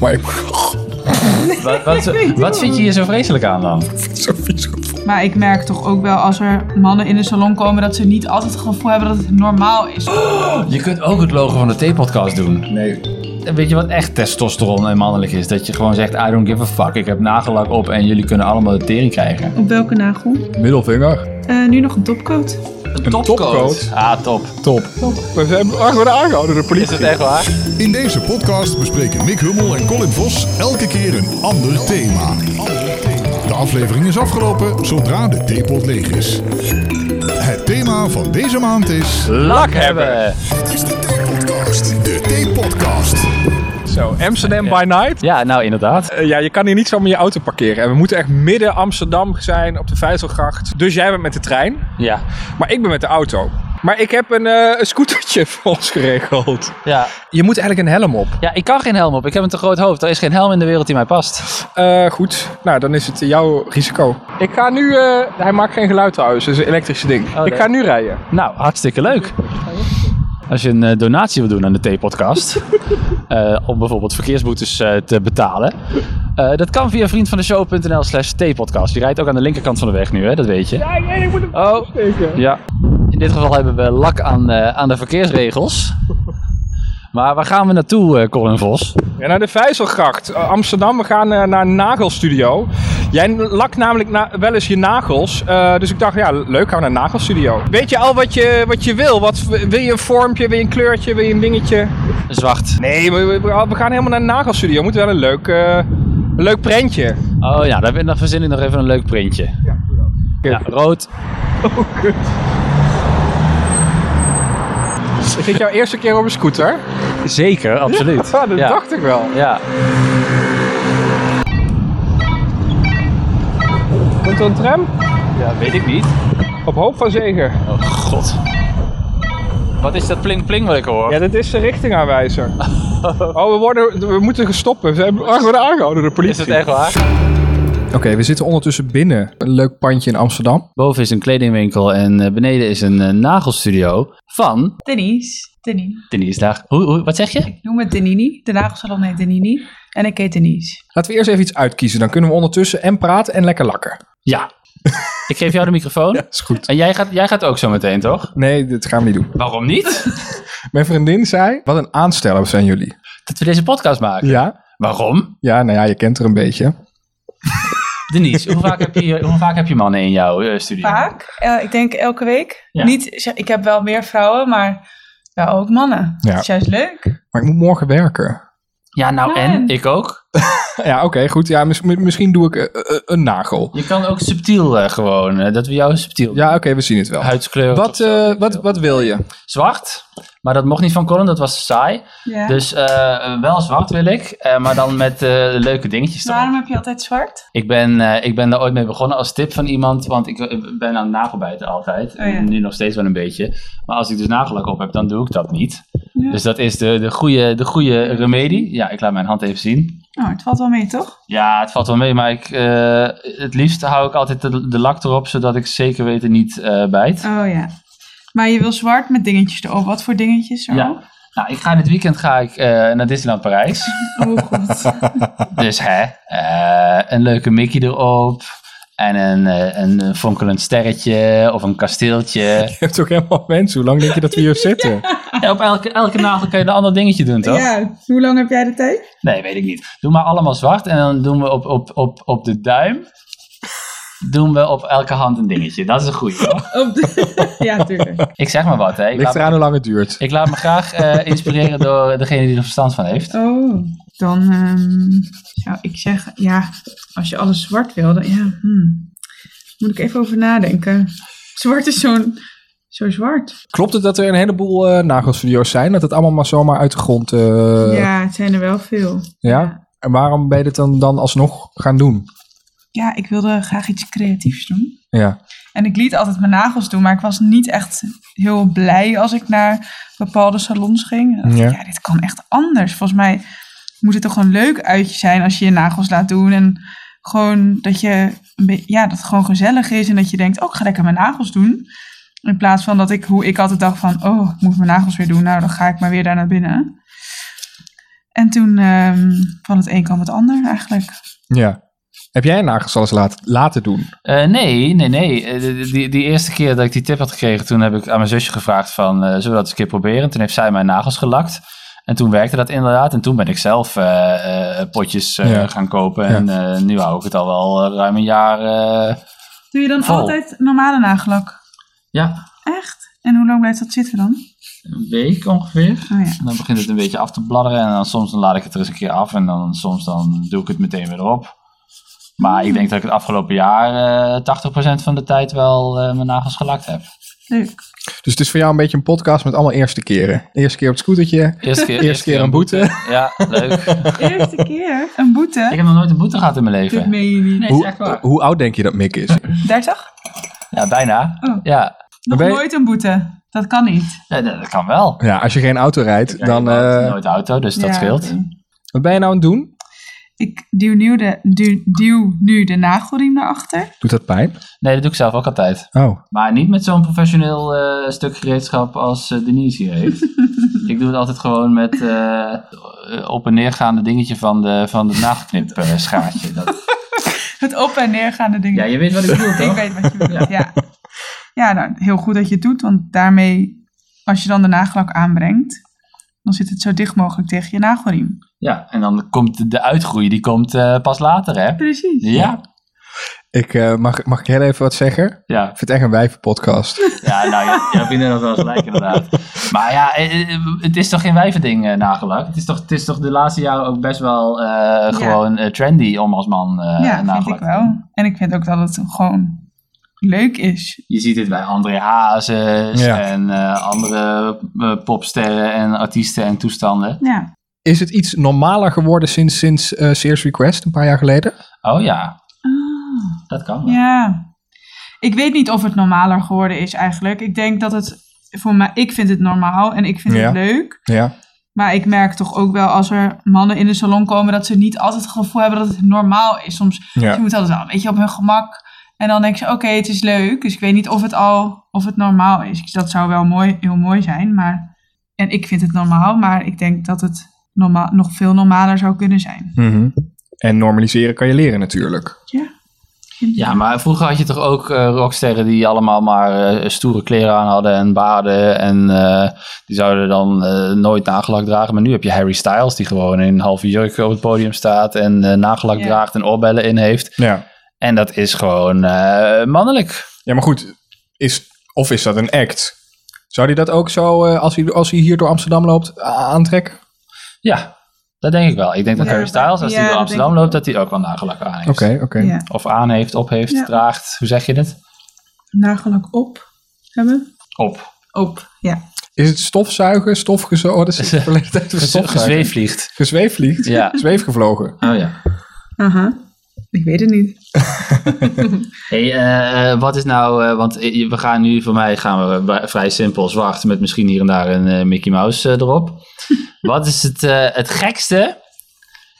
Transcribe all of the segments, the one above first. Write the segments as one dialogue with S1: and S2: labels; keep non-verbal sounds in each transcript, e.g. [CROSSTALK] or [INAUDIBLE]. S1: maar ik [LAUGHS]
S2: Wat, wat, wat vind je hier zo vreselijk aan dan?
S1: vind het zo vies gevoel.
S3: Maar ik merk toch ook wel als er mannen in een salon komen dat ze niet altijd het gevoel hebben dat het normaal is.
S2: Je kunt ook het logo van de T-podcast doen.
S1: Nee,
S2: Weet je wat echt testosteron en mannelijk is? Dat je gewoon zegt, I don't give a fuck. Ik heb nagellak op en jullie kunnen allemaal de tering krijgen.
S3: Op welke nagel?
S1: middelvinger.
S3: Eh, nu nog een topcoat.
S2: Een
S1: topcoat?
S2: Ah, top.
S1: Top. We zijn gewoon aangehouden door de politie.
S2: echt waar?
S4: In deze podcast bespreken Nick Hummel en Colin Vos elke keer een ander thema. De aflevering is afgelopen zodra de theepot leeg is. Het thema van deze maand is...
S2: Lak hebben!
S4: Het is de theepodcast. De theepodcast.
S1: Zo, Amsterdam by night.
S2: Ja, nou inderdaad.
S1: Eh, ja, je kan hier niet zomaar je auto parkeren. En we moeten echt midden Amsterdam zijn, op de Vijzelgracht. Dus jij bent met de trein,
S2: Ja.
S1: maar ik ben met de auto. Maar ik heb een, eh, een scootertje [LAUGHS] voor ons geregeld.
S2: Ja.
S1: Je moet eigenlijk een helm op.
S2: ja, ik kan geen helm op. Ik heb een te groot hoofd. Er is geen helm in de wereld die mij past.
S1: Eh, goed, nou dan is het jouw risico. Ik ga nu, eh, hij maakt geen geluid trouwens, het is een elektrische ding.
S2: Oh, nee.
S1: ik ga nu rijden.
S2: Nou, hartstikke leuk. Als je een eh, donatie wil doen aan de [LAUGHS] T-podcast, eh, om bijvoorbeeld verkeersboetes eh, te betalen, eh, dat kan via vriendvandeshow.nl slash T-podcast. Die rijdt ook aan de linkerkant van de weg nu, hè? dat weet je. Ja, ik moet hem Oh, ja. In dit geval hebben we lak aan, eh, aan de verkeersregels. Maar waar gaan we naartoe, eh Colin Vos?
S1: Ja, naar de Vijzelgracht, eh, Amsterdam. We gaan eh, naar een nagelstudio. Jij lakt namelijk na- wel eens je nagels. eh, dus ik dacht, ja, leuk, gaan we naar een nagelstudio. Weet je al wat je, wat je wil? Wat, wil je een vormpje, wil je een kleurtje, wil je een dingetje?
S2: Zwart.
S1: Nee, we, we- we gaan helemaal naar een nagelstudio. We moeten wel een leuk, eh, een leuk prentje.
S2: Oh ja, daar ben- dan verzin ik nog even een leuk printje. Ja, rood.
S1: Is dit jouw eerste keer op een scooter?
S2: Zeker, [LAUGHS]
S1: [LAUGHS]
S2: absoluut.
S1: Ja, dat
S2: ja.
S1: dacht ik wel.
S2: Ja.
S1: Komt er een tram?
S2: ja, weet ik niet.
S1: Op hoop van zegen.
S2: Oh god. Wat is dat pling pling wat ik hoor?
S1: Ja, dit is de
S2: [LAUGHS]
S1: richtingaanwijzer. Oh, we, worden, we moeten gestoppen. We hebben- we worden aangehouden door de politie.
S2: Is het echt waar?
S1: Oké, we zitten ondertussen binnen een leuk pandje in Amsterdam.
S2: Boven is een kledingwinkel en eh, beneden is een eh, nagelstudio van
S3: Denise. Denise.
S2: Denise daar. Hoe, hoe, wat zeg je?
S3: Ik noem het Denini. De nagelsalon heet Denini. En ik heet Denise.
S1: Laten we eerst even iets uitkiezen. Dan kunnen we ondertussen en praten en lekker lakken.
S2: Ja. [LAUGHS] ik geef jou de microfoon.
S1: is goed.
S2: En jij gaat, jij gaat ook zo meteen, toch?
S1: Nee, dit gaan we niet doen.
S2: Waarom niet?
S1: Mijn vriendin zei, wat een aansteller zijn jullie.
S2: [LAUGHS] dat we deze podcast maken.
S1: Ja,
S2: Waarom?
S1: ja, nou ja, je kent er een beetje.
S2: Denise, hoe vaak heb je, hoe vaak heb je mannen in jouw eh, studio?
S3: Vaak. Eh, ik denk elke week.
S2: Ja.
S3: Niet, ik heb wel meer vrouwen, maar wel ook mannen.
S1: Ja.
S3: Dat is juist leuk.
S1: Maar ik moet morgen werken.
S2: Ja, nou en? Ik ook.
S1: Ja, oké, goed. Ja, mis- mi- misschien doe ik eh, eh, een nagel.
S2: Je kan ook subtiel eh, gewoon, eh, dat we jou subtiel
S1: Ja, oké, we zien het wel.
S2: huidskleur. of
S1: Wat,
S2: zo.
S1: eh, wat, wat wil je? [LAUGHS]
S2: Zwart, maar dat mocht niet van Colin, dat was saai.
S3: Ja.
S2: Dus eh, wel zwart wil ik, eh, maar dan met eh, leuke dingetjes erop.
S3: Waarom heb je altijd zwart?
S2: Ik ben, eh, ik ben daar ooit mee begonnen als tip van iemand, want ik eh, ben aan het nagelbijten altijd.
S3: Oh ja.
S2: Nu nog steeds wel een beetje. Maar als ik dus nagellak op heb, dan doe ik dat niet.
S3: Ja.
S2: Dus dat is de, de, goede, de goede remedie. Ja, ik laat mijn hand even zien.
S3: Nou, het valt wel mee, toch?
S2: Ja, het valt wel mee, maar ik, eh, het liefst hou ik altijd de, de lak erop, zodat ik zeker weten niet eh, bijt.
S3: Oh ja. Maar je wil zwart met dingetjes erop. Wat voor dingetjes erop?
S2: Ja. Nou, ik ga dit weekend ga ik, eh, naar Disneyland Parijs.
S3: Oh,
S2: [LAUGHS]
S3: goed.
S2: Dus hè, eh, een leuke Mickey erop. En een, eh, een fonkelend sterretje of een kasteeltje.
S1: [LAUGHS] Je hebt ook helemaal mensen. Hoe lang denk je dat we [LAUGHS] hier zitten?
S2: Ja, op elke, elke nagel kan je een ander dingetje doen, toch?
S3: Ja, hoe lang heb jij de tijd?
S2: Nee, weet ik niet. Doe maar allemaal zwart en dan doen we op, op, op, op de duim... doen we op elke hand een dingetje. Dat is een goeie, hoor.
S3: Op de... Oh, [LAUGHS] ja, tuurlijk.
S2: Ik zeg maar wat, hè. Ik
S1: Ligt
S2: laat,
S1: eraan hoe lang het duurt.
S2: ik laat me graag eh, inspireren door degene die er verstand van heeft.
S3: Oh, dan ehm, zou ik zeggen, ja, als je alles zwart wil, dan ja, hmm. moet ik even over nadenken. Zwart is zo'n, zo zwart.
S1: Klopt het dat er een heleboel eh, nagelstudio's zijn? Dat het allemaal maar zomaar uit de grond... eh,
S3: ja, het zijn er wel veel.
S1: Ja? En waarom ben je dit dan, dan alsnog gaan doen?
S3: Ja, ik wilde graag iets creatiefs doen.
S1: Ja.
S3: En ik liet altijd mijn nagels doen, maar ik was niet echt heel blij als ik naar bepaalde salons ging. Dan dacht ik,
S1: Ja.
S3: Ja. dit kan echt anders. Volgens mij moet het toch een leuk uitje zijn als je je nagels laat doen. En gewoon dat, je, een be- ja, dat het gewoon gezellig is en dat je denkt, oh, ik ga lekker mijn nagels doen. In plaats van dat ik, hoe ik altijd dacht van, oh, ik moet mijn nagels weer doen. Nou, dan ga ik maar weer daar naar binnen. En toen ehm, van het een kwam het ander eigenlijk.
S1: Ja. Heb jij nagels al eens laat- laten doen?
S2: Eh, nee, nee, nee. Eh, de- die, die eerste keer dat ik die tip had gekregen, toen heb ik aan mijn zusje gevraagd van, eh, zullen we dat eens een keer proberen? Toen heeft zij mijn nagels gelakt. En toen werkte dat inderdaad. En toen ben ik zelf eh, eh, potjes eh,
S1: Ja.
S2: gaan kopen.
S1: Ja.
S2: En eh, nu hou ik het al wel eh, ruim een jaar. eh,
S3: Doe je dan
S2: Vol.
S3: altijd normale nagellak?
S2: ja,
S3: Echt? En hoe lang blijft dat zitten dan?
S2: een week ongeveer.
S3: Oh ja.
S2: Dan begint het een beetje af te bladderen. En dan soms dan laat ik het er eens een keer af. En dan soms dan doe ik het meteen weer op. Maar
S1: Hmm.
S2: ik denk dat ik het afgelopen jaar eh 80% van de tijd wel eh, mijn nagels gelakt heb.
S3: Leuk.
S1: Dus het is voor jou een beetje een podcast met allemaal eerste keren. Eerste keer op het scootertje,
S2: Eerste keer,
S1: eerste keer een boete.
S2: Ja, leuk.
S3: [LAUGHS] Eerste keer een
S2: Ik
S3: boete.
S2: heb nog nooit een boete gehad in mijn
S3: Dit
S2: leven.
S3: meen je niet.
S1: Hoe, hoe oud denk je dat Mick [LAUGHS] is?
S3: 30?
S2: Ja, bijna.
S3: Oh.
S2: Ja.
S3: Nog
S1: Ben je-
S3: nooit een boete. Dat kan niet.
S2: Ja, dat dat kan wel.
S1: Ja, als je geen auto rijdt, dan...
S2: Ik heb
S1: eh,
S2: nooit auto, dus dat
S3: Ja,
S2: scheelt.
S3: oké.
S1: wat ben je nou aan het doen?
S3: Ik duw nu de, duw, duw nu de nagelriem naar achter.
S1: Doet dat pijn?
S2: Nee, dat doe ik zelf ook altijd.
S1: Oh.
S2: Maar niet met zo'n professioneel eh, stuk gereedschap als eh, Denise hier [LAUGHS] heeft. ik doe het altijd gewoon met eh, op- en neergaande dingetje van, de, van het nageknipt eh, schaartje. Dat,
S3: Het op en neergaande
S2: [LAUGHS]
S3: dingen.
S2: ja, je weet wat ik bedoel,
S3: Ik
S2: toch?
S3: weet wat
S2: [LAUGHS]
S3: je bedoelt, ja. Ja, nou, heel goed dat je het doet, want daarmee, als je dan de nagellak aanbrengt, dan zit het zo dicht mogelijk tegen je nagelriem.
S2: Ja, en dan komt de uitgroei, die komt eh, pas later, hè?
S3: Precies.
S2: Ja,
S1: Ik, eh, mag, mag ik heel even wat zeggen?
S2: ja.
S1: Ik vind het echt een [LAUGHS] wijvenpodcast.
S2: Ja, nou, je, je vriendin had wel eens gelijk, inderdaad. Maar ja, eh, eh, het is toch geen wijvending eh nagelak? Het is, toch, het is toch de laatste jaren ook best wel eh, gewoon eh, trendy om als man eh
S3: ja, vind
S2: nagelak
S3: ik
S2: te doen.
S3: wel. En ik vind ook dat het gewoon leuk is.
S2: Je ziet het bij André Hazes
S1: Ja.
S2: en eh, andere eh, popsterren en artiesten en toestanden.
S3: Ja.
S1: Is het iets normaler geworden sinds, sinds eh, Sears Request een paar jaar geleden?
S2: Oh ja,
S3: Ah,
S2: dat kan wel.
S3: ja. Ik weet niet of het normaler geworden is eigenlijk. Ik denk dat het voor mij, ik vind het normaal en ik vind
S1: Ja.
S3: het leuk.
S1: Ja.
S3: Maar ik merk toch ook wel als er mannen in de salon komen dat ze niet altijd het gevoel hebben dat het normaal is. Soms Ze
S1: ja.
S3: moeten altijd al een beetje op hun gemak. En dan denk ze, oké, het is leuk. Dus ik weet niet of het al of het normaal is. Dus dat zou wel mooi, heel mooi zijn. Maar, en ik vind het normaal, maar ik denk dat het norma- nog veel normaler zou kunnen zijn.
S1: Mhm. En normaliseren kan je leren natuurlijk.
S2: Ja, maar vroeger had je toch ook eh, rocksterren die allemaal maar eh, stoere kleren aan hadden en baarden. En eh, die zouden dan eh, nooit nagelak dragen. Maar nu heb je Harry Styles die gewoon in een halve jurk op het podium staat en eh, nagelak
S3: Ja.
S2: draagt en oorbellen in heeft.
S1: Ja.
S2: En dat is gewoon eh, mannelijk.
S1: Ja, maar goed. Is, of is dat een act? Zou hij dat ook zo, eh, als, hij, als hij hier door Amsterdam loopt, a- aantrekken?
S2: Ja, dat denk ik wel. Ik denk dat
S3: Ja,
S2: Harry
S3: dat-
S2: Styles, als
S3: ja,
S2: hij door
S3: dat
S2: Amsterdam
S3: denk ik
S2: loopt, dat hij ook wel nagelak aan heeft.
S1: oké.
S3: Ja.
S2: Of aan heeft, op heeft,
S3: Ja.
S2: draagt. Hoe zeg je het?
S3: Nagellak op hebben.
S2: Op.
S3: Op, ja.
S1: Is het stofzuigen, stofgezorgd? Is [LAUGHS] het verleden tijd van stofzuigen?
S2: Gezweefvliegt.
S1: Gezweefvliegd?
S2: Ja.
S1: Zweefgevlogen.
S2: Oh ja.
S3: Aha. Ik weet het niet.
S2: Hey, eh, eh, wat is nou, eh, want eh, we gaan nu, voor mij gaan we wa- vrij simpel zwart met misschien hier en daar een eh, Mickey Mouse eh, [LAUGHS] erop. wat is het, eh, het gekste?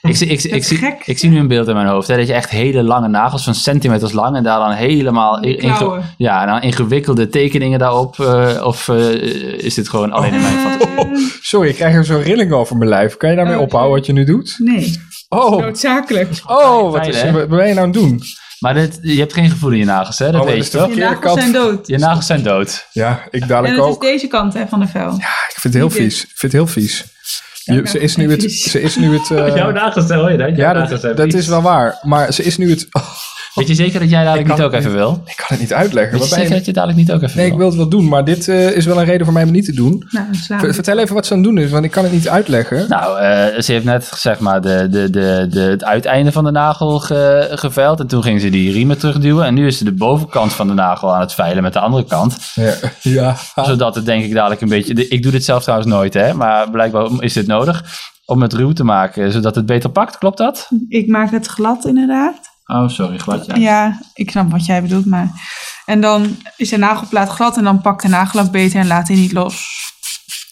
S2: Ik, zie- ik, zie- ik,
S3: Het
S2: zie,
S3: gekste?
S2: ik zie nu een beeld in mijn hoofd, hè, dat je echt hele lange nagels van centimeters lang en daar dan helemaal in- inge-
S3: Klauwen.
S2: ja, en dan ingewikkelde tekeningen daarop. eh, of eh, is dit gewoon alleen in mijn fantasie?
S3: Eh,
S1: Sorry, ik krijg er zo'n rilling over mijn lijf. Kan je daarmee
S3: Oh,
S1: ophouden wat je nu doet?
S3: Nee,
S1: Oh,
S3: noodzakelijk.
S1: oh wat, is,
S2: Fijn, hè?
S1: wat ben je nou aan het doen?
S2: Maar dit, je hebt geen gevoel in je nagels, hè? Dat
S1: Oh, maar
S2: weet je
S1: dat is
S2: toch?
S1: de verkeerde kant.
S3: dood.
S2: Je nagels zijn dood.
S1: Ja, ik
S3: En
S1: dadelijk
S3: het is
S1: ook.
S3: deze kant hè, van de vel.
S1: Ik vind het heel
S3: niet dit.
S1: vies. Ik vind het heel vies. Je-
S3: Ja,
S1: ze, is nu het,
S3: vies.
S1: ze is nu [LAUGHS] het... eh,
S2: Jouw nagels zijn, hoor je dat? Jouw
S1: ja,
S2: nagels
S1: dat,
S2: zijn
S1: dat
S2: vies.
S1: is wel waar. Maar ze is nu het... oh,
S2: Weet je zeker dat jij dadelijk
S1: Ik
S2: niet
S1: kan
S2: ook even wil?
S1: ik kan het niet uitleggen.
S2: Weet je
S1: Wat ben je-
S2: zeker dat je dadelijk niet ook even
S1: Nee, ik
S2: wil?
S1: wil het wel doen. Maar dit eh, is wel een reden voor mij om het niet te doen.
S3: Nou, dan slaan we.
S1: Ver- vertel even wat ze aan het doen is, want ik kan het niet uitleggen.
S2: Nou, eh, ze heeft net zeg maar de, de, de, de, het uiteinde van de nagel ge, geveild. En toen ging ze die riemen terugduwen. En nu is ze de bovenkant van de nagel aan het veilen met de andere kant.
S1: Ja. [LAUGHS] ja.
S2: Zodat het denk ik dadelijk een beetje... de- ik doe dit zelf trouwens nooit, hè. Maar blijkbaar is dit nodig om het ruw te maken. Zodat het beter pakt, klopt dat?
S3: Ik maak het glad inderdaad.
S2: Oh, sorry, gladje.
S3: Ja, ik snap wat jij bedoelt, maar... En dan is de nagelplaat glad en dan pakt de nagellak beter en laat hij niet los.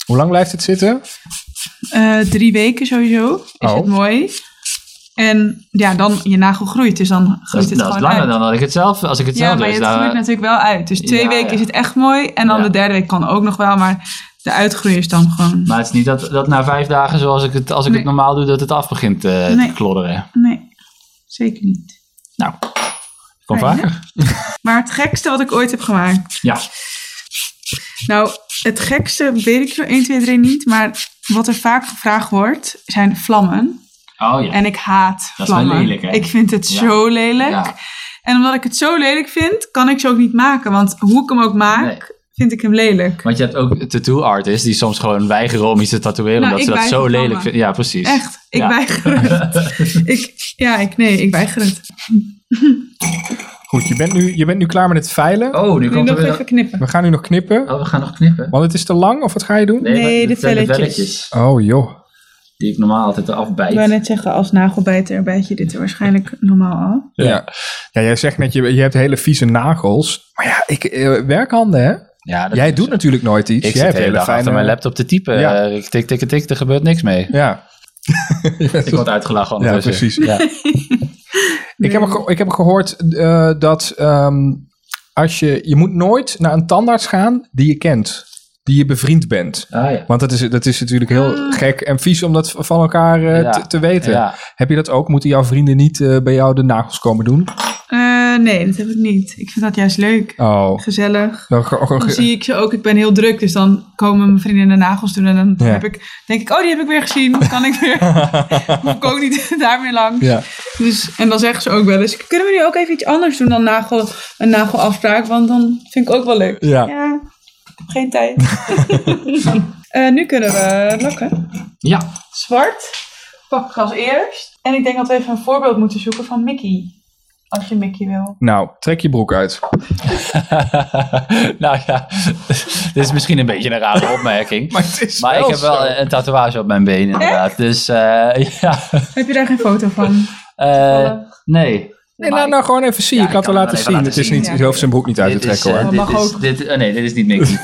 S1: Hoe lang blijft het zitten?
S3: Eh, drie weken sowieso is
S1: Oh.
S3: het mooi. En ja, dan je nagel groeit, dus dan
S2: Dat
S3: groeit
S2: is,
S3: het
S2: dat is
S3: gewoon
S2: langer
S3: uit.
S2: dan dat ik het zelf... Als ik het
S3: Ja,
S2: zelf
S3: maar
S2: doe, is
S3: het
S2: daar-
S3: groeit natuurlijk wel uit. Dus twee
S2: Ja,
S3: weken
S2: ja.
S3: is het echt mooi en dan
S2: Ja.
S3: de derde week kan ook nog wel, maar... De uitgroei is dan gewoon...
S2: eh, Maar het is niet dat, dat na vijf dagen, zoals ik het, als ik
S3: Nee.
S2: het normaal doe, dat het af begint eh,
S3: Nee.
S2: te klodderen.
S3: Nee, zeker niet.
S2: Nou, kom
S3: Fijn, hè?
S2: vaker.
S3: Maar het gekste wat ik ooit heb gemaakt.
S2: Ja.
S3: Nou, het gekste weet ik zo 1, 2, 3 niet. Maar wat er vaak gevraagd wordt, zijn vlammen.
S2: Oh ja.
S3: En ik haat
S2: Dat is wel
S3: vlammen.
S2: lelijk, hè?
S3: Ik vind het
S2: Ja.
S3: zo lelijk.
S2: Ja.
S3: En omdat ik het zo lelijk vind, kan ik ze ook niet maken. Want hoe ik hem ook maak,
S2: Nee.
S3: vind ik hem lelijk.
S2: Want je hebt ook tattoo artists die soms gewoon weigeren om iets te tatoeëren.
S3: Nou,
S2: omdat ze
S3: ik
S2: dat zo
S3: weiger
S2: lelijk
S3: vlammen.
S2: vinden. Ja, precies.
S3: Echt, ik
S2: Ja.
S3: weiger
S2: [LAUGHS]
S3: het. ik, ja, ik, nee, ik weiger het.
S1: Goed, je bent, nu, je bent nu klaar met het veilen.
S2: Oh, nu
S3: Nu
S2: komt er
S3: nog
S2: weer...
S3: even knippen.
S1: We gaan nu nog knippen.
S2: Oh, we gaan nog knippen.
S1: Want het is te lang, of wat ga je doen?
S3: Nee,
S2: maar
S3: de
S2: dit zijn
S3: velletjes.
S1: Oh joh.
S2: die ik normaal altijd eraf bijt.
S3: Ik wou net zeggen, als nagelbijter bijt je dit er waarschijnlijk normaal al.
S1: Ja. ja. jij zegt net, je, je hebt hele vieze nagels. Maar ja, ik, eh, werkhanden hè?
S2: Ja, dat
S1: Jij
S2: is
S1: doet
S2: zo.
S1: natuurlijk nooit iets. jij
S2: Ik zit
S1: hebt
S2: de hele dag achter mijn laptop te typen.
S1: Ja.
S2: Eh, ik tik, tik, tik, er gebeurt niks mee.
S1: Ja. Je bent
S2: Ik word uitgelachen
S1: ja, precies.
S2: ondertussen. Ja.
S3: [LAUGHS]
S1: Ik, heb, ge- ik heb gehoord eh, dat ehm, als je, je moet nooit naar een tandarts gaan die je kent. Die je bevriend bent.
S2: Ah ja.
S1: Want dat is, dat is natuurlijk heel gek en vies om dat v- van elkaar eh,
S2: Ah. Ja.
S1: te, te weten.
S2: Ja.
S1: Heb je dat ook? Moeten jouw vrienden niet eh, bij jou de nagels komen doen?
S3: Eh, nee, dat heb ik niet. Ik vind dat juist leuk.
S1: Oh.
S3: Gezellig.
S1: Dan ge- ge-
S3: Dan
S1: ge-
S3: zie ik ze ook. Ik ben heel druk, dus dan komen mijn vrienden de nagels doen. En dan
S1: Ja.
S3: heb ik, denk ik, oh, die heb ik weer gezien. Kan ik
S1: [LAUGHS]
S3: weer. Hoef ik ook niet [LAUGHS] daar meer langs.
S1: ja.
S3: Dus, en dan zeggen ze ook wel eens, kunnen we nu ook even iets anders doen dan nagel, een nagelafspraak? Want dan vind ik ook wel leuk.
S1: Ja.
S3: ik heb geen tijd. [LAUGHS] Eh, nu kunnen we lakken.
S2: ja. [LAUGHS]
S3: Zwart pak ik als eerst. En ik denk dat we even een voorbeeld moeten zoeken van Mickey. Als je Mickey wil.
S1: Nou, trek je broek uit.
S2: nou ja, [LAUGHS] dit is misschien een beetje een rare opmerking.
S1: [LAUGHS] Maar Oh, het is
S2: Maar ik heb wel een, een tatoeage op mijn been inderdaad. Dus eh, [LAUGHS] ja.
S3: Heb je daar geen foto van?
S2: eh, nee.
S1: Nee,
S2: Maar
S1: laat nou gewoon even zien.
S2: Ja,
S1: ik had
S2: ik
S1: het
S2: kan
S1: laten
S2: het
S1: zien.
S2: wel even
S1: Het is
S2: laten
S1: niet,
S3: zien,
S1: je hoeft zijn broek niet uit te
S2: dit is,
S1: trekken
S2: eh,
S1: hoor.
S2: dit
S3: Mag
S2: is-
S3: ook.
S2: dit- eh, nee, dit is niet Mickey.
S1: [LAUGHS]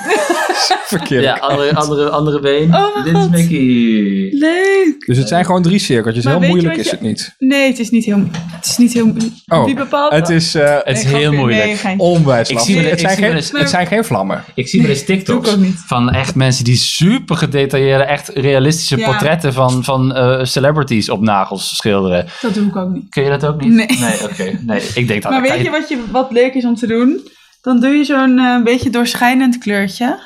S1: Verkeerd.
S2: [LAUGHS] ja, andere, andere, andere been.
S3: Oh mijn
S2: dit is
S3: God.
S2: Mickey.
S3: Leuk!
S1: Dus het zijn gewoon drie cirkeltjes.
S3: Maar
S1: Heel
S3: weet je
S1: moeilijk
S3: wat
S1: is het
S3: je-
S1: niet.
S3: Nee, het is niet heel... Het is niet heel...
S1: Oh,
S3: Wie bepaalt
S1: Het
S3: dat?
S1: is eh,
S2: Het is
S3: Nee,
S2: heel
S3: grapje. Nee,
S2: moeilijk.
S3: geintje.
S1: onwijs
S2: Ik
S1: lastig.
S2: zie wel-
S1: het,
S2: ik
S1: zijn
S2: zie wel
S1: geen,
S2: eens-
S1: het zijn geen vlammen.
S2: Ik zie wel eens
S3: doe
S2: TikToks
S3: ik ook niet.
S2: van echt mensen die super gedetailleerde, echt realistische
S3: Ja.
S2: portretten van, van eh, celebrities op nagels schilderen.
S3: Dat doe ik ook niet.
S2: Kun je dat ook niet?
S3: Nee.
S2: oké. Nee, ik denk dat
S3: Maar
S2: dat
S3: weet
S2: kan
S3: je wat, je wat leuk is om te doen? Dan doe je zo'n eh, beetje doorschijnend kleurtje.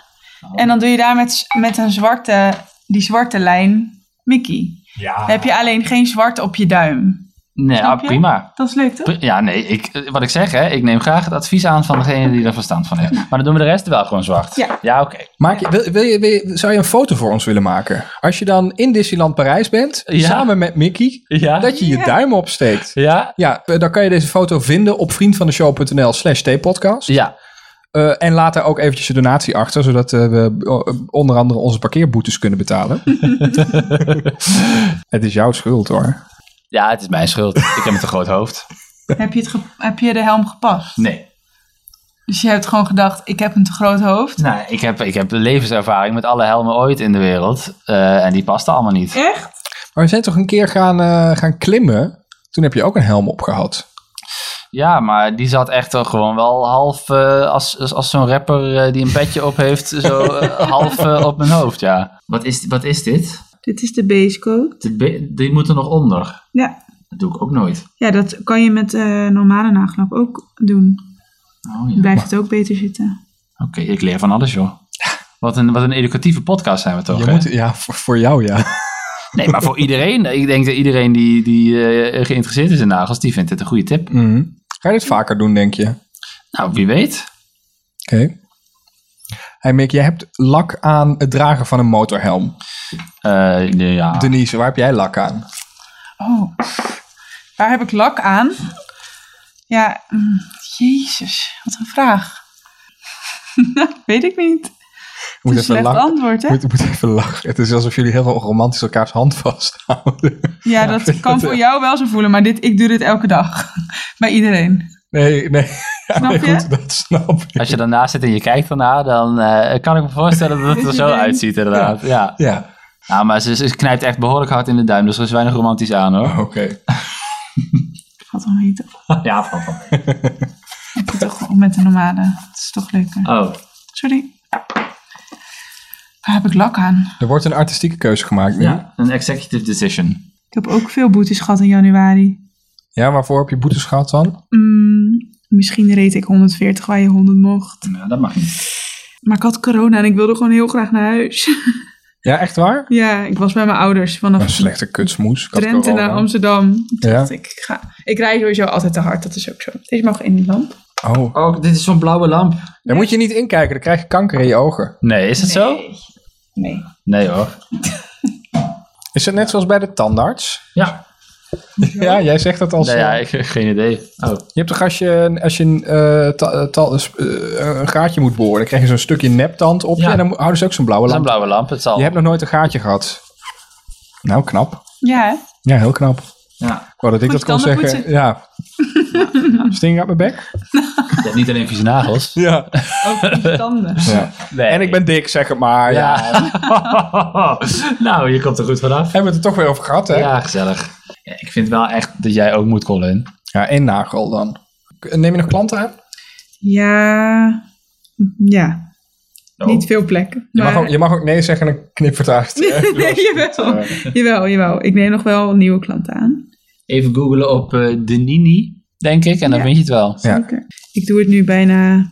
S3: En dan doe je daar met, s- met een zwarte, die zwarte lijn Mickey.
S1: Ja.
S3: Dan heb je alleen geen zwart op je duim.
S2: Nee, ja,
S3: Snap je?
S2: prima.
S3: Dat is leuk toch?
S2: Pri- Ja, nee, ik, eh, wat ik zeg, hè, ik neem graag het advies aan van degene die er verstand van heeft. Maar dan doen we de rest wel gewoon zwart.
S3: Ja.
S2: Nou. Ja, oké.
S1: Maak je, wil, wil je, wil je- zou je een foto voor ons willen maken? Als je dan in Disneyland Parijs bent,
S2: Ja.
S1: samen met Mickey,
S2: Ja?
S1: [LAUGHS] dat je je
S3: Ja.
S1: duim opsteekt.
S2: Ja?
S1: Ja, eh, dan kan je deze foto vinden op vriendvandeshow.nl slash tpodcast.
S2: Ja.
S1: Eh, en laat daar ook eventjes een donatie achter, zodat eh, we eh, onder andere onze parkeerboetes kunnen
S3: [LAUGHS]
S1: betalen. het is jouw schuld hoor.
S2: Ja, het is mijn schuld. Ik heb een te groot hoofd.
S3: Heb je, het ge- heb je de helm gepast?
S2: Nee.
S3: Dus je hebt gewoon gedacht, ik heb een te groot hoofd.
S2: Nou, ik heb, ik heb levenservaring met alle helmen ooit in de wereld. eh, en die pasten allemaal niet.
S3: Echt?
S1: Maar we zijn toch een keer gaan, eh, gaan klimmen? Toen heb je ook een helm op gehad.
S2: Ja, maar die zat echt toch gewoon wel half eh, als, als, als zo'n rapper eh, die een petje op heeft,
S1: [LAUGHS]
S2: zo eh, half eh, op mijn hoofd, ja. Wat is, wat is dit?
S3: Dit is de basecoat.
S2: De be- die moet er nog onder.
S3: Ja.
S2: Dat doe ik ook nooit.
S3: ja, dat kan je met eh, normale nagelak ook doen.
S2: Oh,
S3: Dan
S2: ja.
S3: blijft het ook beter zitten.
S2: Oké, ik leer van alles, joh. Wat een, wat een educatieve podcast zijn we toch,
S1: Je
S2: hè?
S1: moet, ja, voor, voor jou ja.
S2: Nee, maar voor iedereen. Ik denk dat iedereen die, die eh, geïnteresseerd is in nagels, die vindt dit een goede tip.
S1: Mhm. Ga je dit vaker doen, denk je? Oké.
S2: Nou, wie weet.
S1: Hey Mick, jij hebt lak aan het dragen van een motorhelm.
S2: Eh, nee, ja.
S3: Ah.
S1: Denise, waar heb jij lak aan?
S3: Oh, waar heb ik lak aan? Ja, mm, jezus, wat een vraag. [LAUGHS] Weet ik niet.
S1: Moet
S3: Het is een slecht
S1: lak-
S3: antwoord, hè?
S1: Moet, moet even lachen. Het is alsof jullie heel romantisch elkaars hand vasthouden.
S3: Ja, dat kan voor jou wel zo voelen, maar dit, ik doe dit elke dag. [LAUGHS] Bij iedereen.
S1: Nee, nee. Ja,
S3: Snap
S1: nee,
S3: je?
S1: goed, dat snap ik.
S2: Als je daarnaast zit en je kijkt ernaar, dan eh, kan ik me voorstellen dat het er zo [LAUGHS] uitziet, inderdaad. Ja.
S1: Ja,
S2: Nou, maar ze, ze knijpt echt behoorlijk hard in de duim, dus er is weinig romantisch aan hoor.
S1: oké.
S3: Wat dan niet.
S2: Ja, van van.
S3: Ik
S2: Mhm.
S3: doe toch gewoon met de nomade. Dat is toch leuker.
S2: Oh,
S3: Sorry. Waar heb ik lak aan?
S1: Er wordt een artistieke keuze gemaakt nu. Ja,
S2: Ja, een executive decision.
S3: Ik heb ook veel boetes gehad in januari.
S1: waarvoor heb je boetes gehad dan?
S3: Mm, misschien reed ik 140 waar je 100 mocht.
S2: Nou, dat mag niet.
S3: Maar ik had corona en ik wilde gewoon heel graag naar huis. [LAUGHS]
S1: Ja, echt waar?
S3: ja, ik was bij mijn ouders
S1: Een
S3: vanaf
S1: slechte kutsmoes. Ik had
S3: Drenthe
S1: corona.
S3: naar Amsterdam. Toen
S1: Ja.
S3: dacht ik, ik ga. Ik rijd sowieso altijd te hard, dat is ook zo. Deze mag in die lamp.
S1: Oh,
S2: Oh, dit is zo'n blauwe lamp.
S1: daar moet je niet inkijken. Dan krijg je kanker in je ogen.
S2: Nee, is het zo?
S3: Nee.
S2: Nee hoor.
S1: Is het net zoals bij de tandarts?
S2: Ja.
S1: Ja, jij zegt dat als... eh,
S2: Nee, Nou ja, ik, eh, geen idee. Oh.
S1: Je hebt toch als je, als je een, eh, ta- eh, ta- eh, sp- eh, een gaatje moet boren, dan krijg je zo'n stukje neptand op je
S2: Ja.
S1: en dan mo- houden ze ook zo'n blauwe
S2: Dat is een
S1: lamp.
S2: blauwe lamp, het zal.
S1: Je hebt nog nooit een gaatje gehad. Nou, knap.
S3: Ja, hè?
S1: Ja, heel knap.
S2: Ja.
S1: Ik wou dat ik
S3: Goed
S1: dat kon
S3: tanden
S1: zeggen.
S3: [LAUGHS]
S1: Ja. Sting uit mijn bek.
S2: Je hebt niet alleen vieze nagels.
S1: Ja.
S3: Ook
S1: [LAUGHS]
S3: die tanden.
S1: ja.
S2: Nee.
S1: En ik ben dik, zeg het maar. Ja.
S2: Ja. [LAUGHS] nou, je komt er goed vanaf.
S1: Hebben we het er toch weer over gehad, hè? Ja,
S2: Ja, gezellig. Ja, ik vind wel echt dat jij ook moet, Colin.
S1: één nagel dan. K- Neem je nog klanten aan?
S3: Ja. Ja.
S2: Oh.
S3: Niet veel plekken.
S1: Je, mag
S3: maar- [LAUGHS]
S1: ook, je mag ook nee zeggen en dan knippert uit.
S3: Nee, jawel.
S1: eh.
S3: jawel, jawel. Ik neem nog wel nieuwe klanten aan.
S2: Even googlen op eh Denini, denk ik, en dan
S3: Ja.
S2: vind je het wel.
S1: Ja.
S3: Zeker. Ik doe het nu bijna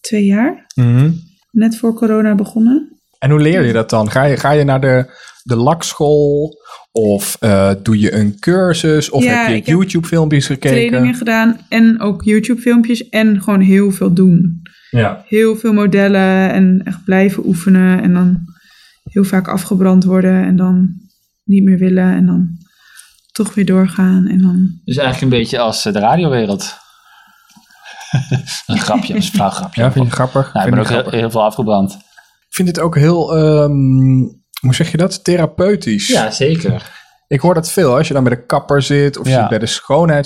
S3: twee
S1: [LAUGHS]
S3: jaar.
S1: Mhm.
S3: Net voor corona begonnen.
S1: En hoe leer je dat dan? Ga je, ga je naar de, de lakschool? Of eh, doe je een cursus? Of
S3: Ja,
S1: heb
S3: ik
S1: je
S3: heb
S1: YouTube-filmpjes
S3: Trainingen
S1: gekeken?
S3: gedaan en ook YouTube filmpjes. En gewoon heel veel doen.
S1: Ja.
S3: Heel veel modellen en echt blijven oefenen. En dan heel vaak afgebrand worden. En dan niet meer willen. En dan toch weer doorgaan. En dan...
S2: Dus eigenlijk een beetje als eh, de radiowereld. [LAUGHS] een grapje, een flauw grapje.
S1: ja, vind je grappig?
S2: nou,
S1: Vind
S2: ik ben
S1: je
S2: ook heel,
S1: grappig?
S2: heel veel afgebrand.
S1: Ik vind dit ook heel, ehm, hoe zeg je dat? Therapeutisch.
S2: Ja, zeker.
S1: Ik hoor dat veel. hè. Als je dan bij de kapper zit, of je
S2: Ja.
S1: zit bij de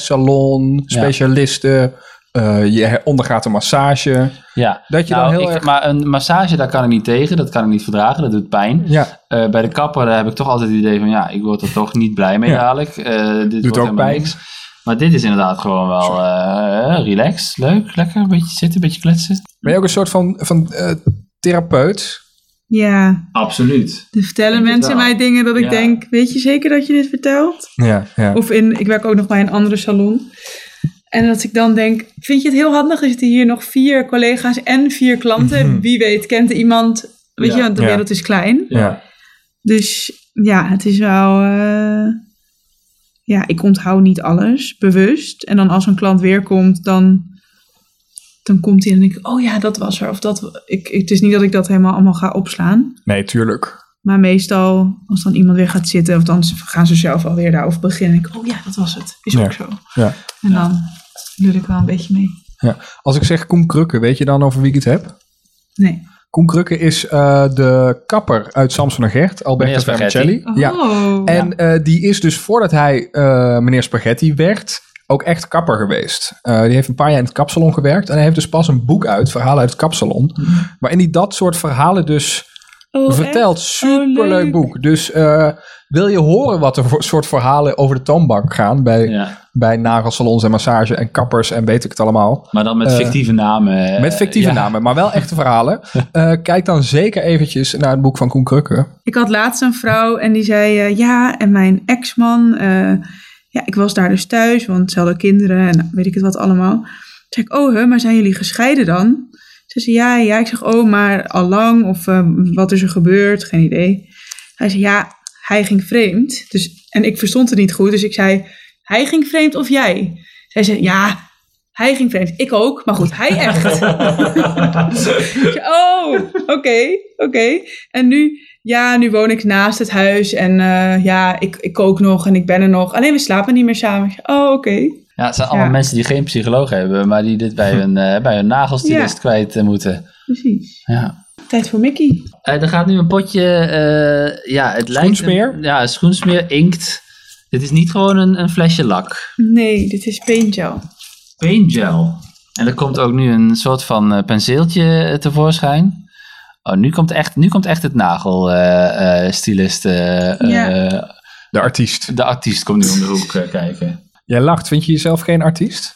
S1: schoonheidssalon,
S2: Ja.
S1: specialisten, eh, je ondergaat een massage.
S2: Ja.
S1: Dat je
S2: Nou,
S1: dan heel
S2: ik-
S1: erg.
S2: Maar een massage, daar kan ik niet tegen. Dat kan ik niet verdragen. Dat doet pijn.
S1: Ja,
S2: Eh, bij de kapper daar heb ik toch altijd het idee van... ja, ik word er toch niet blij mee
S1: Ja.
S2: dadelijk. Eh, dit wordt
S1: ook
S2: helemaal
S1: pijn.
S2: niks. Maar dit is inderdaad gewoon wel eh relaxed, leuk, lekker. Een beetje zitten, een beetje kletsen.
S1: ben je ook een soort van, van eh, therapeut?
S3: Ja,
S2: Absoluut.
S3: er vertellen
S2: Ik denk het
S3: mensen
S2: wel.
S3: mij dingen dat ik
S2: Ja.
S3: denk... Weet je zeker dat je dit vertelt?
S1: Ja, ja.
S3: Of in, ik werk ook nog bij een andere salon. En dat ik dan denk, vind je het heel handig? Er zitten hier nog vier collega's en vier klanten.
S1: Mhm.
S3: Wie weet kent iemand. Weet
S2: Ja.
S3: je, want de
S1: Ja.
S3: wereld is klein.
S1: ja.
S3: Dus ja, het is wel... eh, ja, ik onthoud niet alles, bewust. En dan als een klant weer komt, dan, dan komt hij en denk ik... Oh ja, dat was er. Of dat, ik, het is niet dat ik dat helemaal allemaal ga opslaan.
S1: Nee, tuurlijk.
S3: Maar meestal, als dan iemand weer gaat zitten, of dan gaan ze zelf alweer daarover beginnen. Ik, oh ja, dat was het. Is
S1: Ja.
S3: ook zo.
S1: Ja.
S3: En dan doe ik wel een beetje mee.
S1: Als ik zeg Koen Krukke, weet je dan over wie ik het heb?
S3: Nee.
S1: Koen Krukke is eh, de kapper uit Samson en Gert, Alberto
S2: Meneer Spaghetti.
S1: Vermicelli.
S3: Oh.
S1: Ja. En eh, die is dus voordat hij eh, meneer Spaghetti werd, ook echt kapper geweest. Eh, die heeft een paar jaar in het kapsalon gewerkt. En hij heeft dus pas een boek uit, Verhalen uit het kapsalon. Waarin hij dat soort verhalen dus
S3: Oh,
S1: vertelt. Superleuk
S3: leuk.
S1: boek. Dus eh, wil je horen wat er voor soort verhalen over de toonbank gaan... bij,
S2: Ja.
S1: bij nagelsalons en massage en kappers en weet ik het allemaal...
S2: Maar dan met
S1: Eh,
S2: fictieve namen. eh,
S1: Met fictieve
S2: ja.
S1: namen, maar wel echte verhalen. Eh, kijk dan zeker eventjes naar het boek van Koen Krukke.
S3: Ik had laatst een vrouw en die zei eh, ja, en mijn ex-man, eh, ja, ik was daar dus thuis, want ze hadden kinderen en nou, weet ik het wat allemaal. Toen zei ik, oh, hè, maar zijn jullie gescheiden dan? Ze zei, ja, ja. Ik zeg, oh, maar al lang of eh, wat is er gebeurd? Geen idee. Hij zei, ja, hij ging vreemd. Dus, en ik verstond het niet goed, dus ik zei, hij ging vreemd of jij? Zij zei, ja, hij ging vreemd. Ik ook, maar goed, hij echt. Ik zei, oh, oké, oké. En nu, ja, nu woon ik naast het huis en eh, ja, ik, ik kook nog en ik ben er nog. Alleen we slapen niet meer samen. Ik zei, oh, oké.
S2: Ja, het zijn allemaal
S3: Ja.
S2: mensen die geen psycholoog hebben, maar die dit
S1: [LAUGHS]
S2: bij hun, eh, bij hun nagelstylist
S3: Ja.
S2: kwijt eh, moeten.
S3: Precies.
S2: Ja.
S3: Tijd voor Mickey.
S2: Eh, er gaat nu een potje, eh, ja, het lijkt...
S1: Schoensmeer?
S2: een- ja, schoensmeer, inkt. Dit is niet gewoon een, een flesje lak.
S3: Nee, dit is paintgel.
S2: Paint gel. En er komt ook nu een soort van eh, penseeltje eh, tevoorschijn. Oh, nu komt echt, nu komt echt het eh, nagelstilist,
S3: Ja.
S1: De artiest.
S2: eh, de artiest komt nu om de hoek eh, kijken.
S1: Jij lacht. Vind je jezelf geen artiest?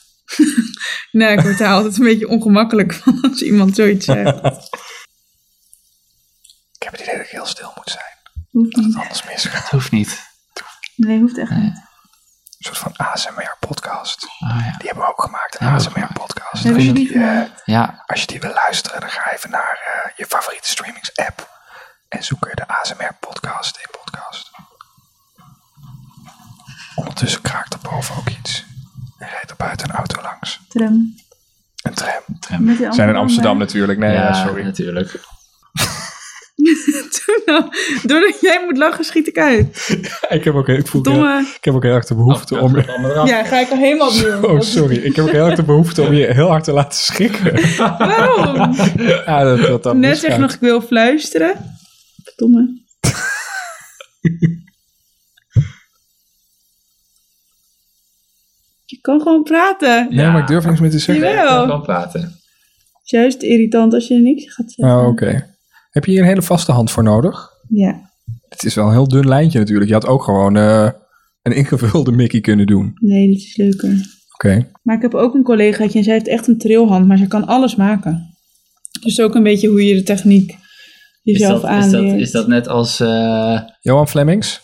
S3: Nou, ik word daar [LAUGHS] altijd een beetje ongemakkelijk van als iemand zoiets zegt.
S1: Ik heb het idee dat ik heel
S3: Hoeft niet.
S1: Alles misgaat.
S2: Dat hoeft niet.
S3: Nee, hoeft echt niet.
S1: Een soort van ASMR-podcast.
S2: Oh, ja.
S1: Die hebben we Ah, ook gemaakt, een
S2: Ja,
S1: ASMR-podcast.
S3: Hebben
S1: Als, je
S3: jullie
S1: die,
S3: die gemaakt?
S1: eh,
S2: ja,
S1: als je die wil luisteren, dan ga even naar eh, je favoriete streamings-app. En zoek er de ASMR-podcast in podcast. Ondertussen kraakt er boven ook iets. Er rijdt er buiten een auto langs.
S3: Tram.
S1: Een tram.
S3: Met die
S1: Zijn in
S3: andere
S1: Amsterdam
S3: baan.
S1: natuurlijk. Nee,
S2: ja,
S1: ja, Eh, sorry.
S2: natuurlijk.
S3: Doe [LAUGHS] nou, doordat jij moet lachen, schiet ik uit.
S1: [LAUGHS] Ik heb ook, ik voel
S3: Domme.
S1: Ik heb ook heel erg de behoefte om.
S3: eh, Ja, ga ik al helemaal opnieuw.
S1: [LAUGHS] Oh, sorry. Ik heb ook heel erg de behoefte om je heel hard te laten schrikken.
S3: Waarom?
S1: Ja, dat, dat, dat
S3: Net
S1: misgaat.
S3: zeg nog, ik wil fluisteren. Domme. [LAUGHS] Je kan gewoon praten.
S1: Nee, maar ik durf niks meer te zeggen.
S3: Jawel.
S2: Ik kan wel praten.
S3: Het is juist irritant als je niks gaat zeggen.
S1: Oh, oké. Heb je hier een hele vaste hand voor nodig?
S3: Ja,
S1: Het is wel een heel dun lijntje natuurlijk. Je had ook gewoon eh, een ingevulde Mickey kunnen doen.
S3: nee, dit is leuker.
S1: Oké.
S3: Maar ik heb ook een collegaatje en zij heeft echt een trilhand, maar ze kan alles maken. Dus ook een beetje hoe je de techniek jezelf
S2: is, dat,
S3: aanleert.
S2: is dat net als... eh,
S1: Johan Flemings.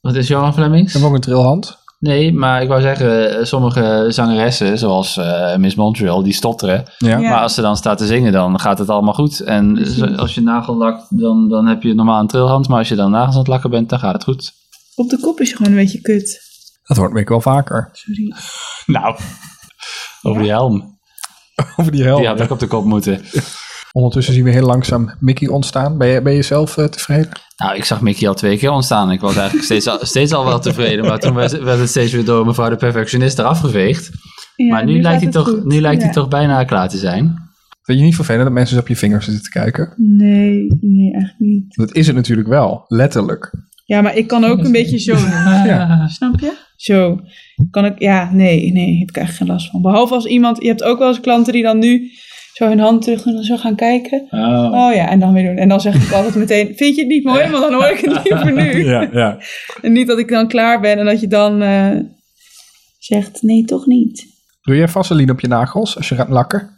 S2: wat is Johan Flemings?
S1: Heb ook een trilhand.
S2: Nee, maar ik wou zeggen, eh, sommige zangeressen, zoals eh, Miss Montreal, die stotteren.
S1: Ja.
S3: Ja.
S2: Maar als ze dan staat te zingen, dan gaat het allemaal goed. En zo- als je nagel lakt, dan, dan heb je normaal een trilhand. Maar als je dan nagels aan het lakken bent, dan gaat het goed.
S3: Op de kop is je gewoon een beetje kut.
S1: Dat hoort Mick wel vaker.
S3: Sorry.
S2: [LAUGHS] Nou, over die helm.
S1: [LAUGHS] Over die helft.
S2: Die had ook op de kop moeten.
S1: Ondertussen zien we heel langzaam Mickey ontstaan. Ben je, ben je zelf eh, tevreden?
S2: Nou, ik zag Mickey al twee keer ontstaan. Ik was eigenlijk steeds al, [LAUGHS] steeds al wel tevreden. Maar toen werd, werd het steeds weer door mevrouw de perfectionist eraf geveegd.
S3: Ja,
S2: maar nu, lijkt,
S3: gaat
S2: hij
S3: het
S2: toch,
S3: goed.
S2: nu lijkt hij
S3: Ja.
S2: toch bijna klaar te zijn.
S1: Vind je niet vervelend dat mensen eens op je vingers zitten te kijken?
S3: Nee, nee, eigenlijk niet.
S1: Dat is het natuurlijk wel. Letterlijk.
S3: Ja, maar ik kan ook een beetje
S2: [LAUGHS]
S3: zo.
S1: Ja.
S3: Snap je? Zo. Kan ik, ja, nee, nee, heb ik eigenlijk geen last van. Behalve als iemand, je hebt ook wel eens klanten die dan nu zo hun hand terug doen en zo gaan kijken.
S2: Oh.
S3: Oh ja, en dan weer doen. En dan zeg ik altijd meteen, vind je het niet mooi? Want dan hoor ik het liever nu.
S1: ja.
S3: En niet dat ik dan klaar ben en dat je dan eh, zegt, nee, toch niet.
S1: Doe jij vaseline op je nagels als je gaat lakken?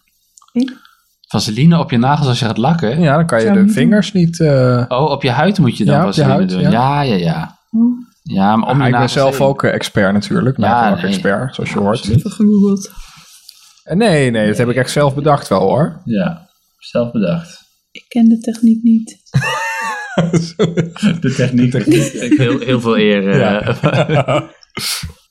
S2: Vaseline op je nagels als je gaat lakken.
S1: Ja, dan kan je
S3: Zou
S1: de
S3: niet
S1: vingers niet... eh,
S2: Oh, op je huid moet je dan
S1: Ja, op je
S2: vaseline
S1: huid,
S2: doen.
S1: ja.
S2: Ja, ja, ja. ja.
S3: Oh.
S2: maar om
S1: Ah,
S2: je
S1: ik ben
S2: nagels
S1: zelf
S2: heen.
S1: ook eh, expert natuurlijk,
S2: Ja,
S1: nagellak-expert, zoals je hoort.
S2: Absoluut.
S3: Even gegoogeld.
S1: Eh, Nee, nee, dat heb ik echt zelf bedacht wel
S2: [LAUGHS]
S1: hoor.
S2: Ja, zelf bedacht.
S3: Ik ken de techniek niet.
S2: De techniek. Heel, heel veel eer. eh.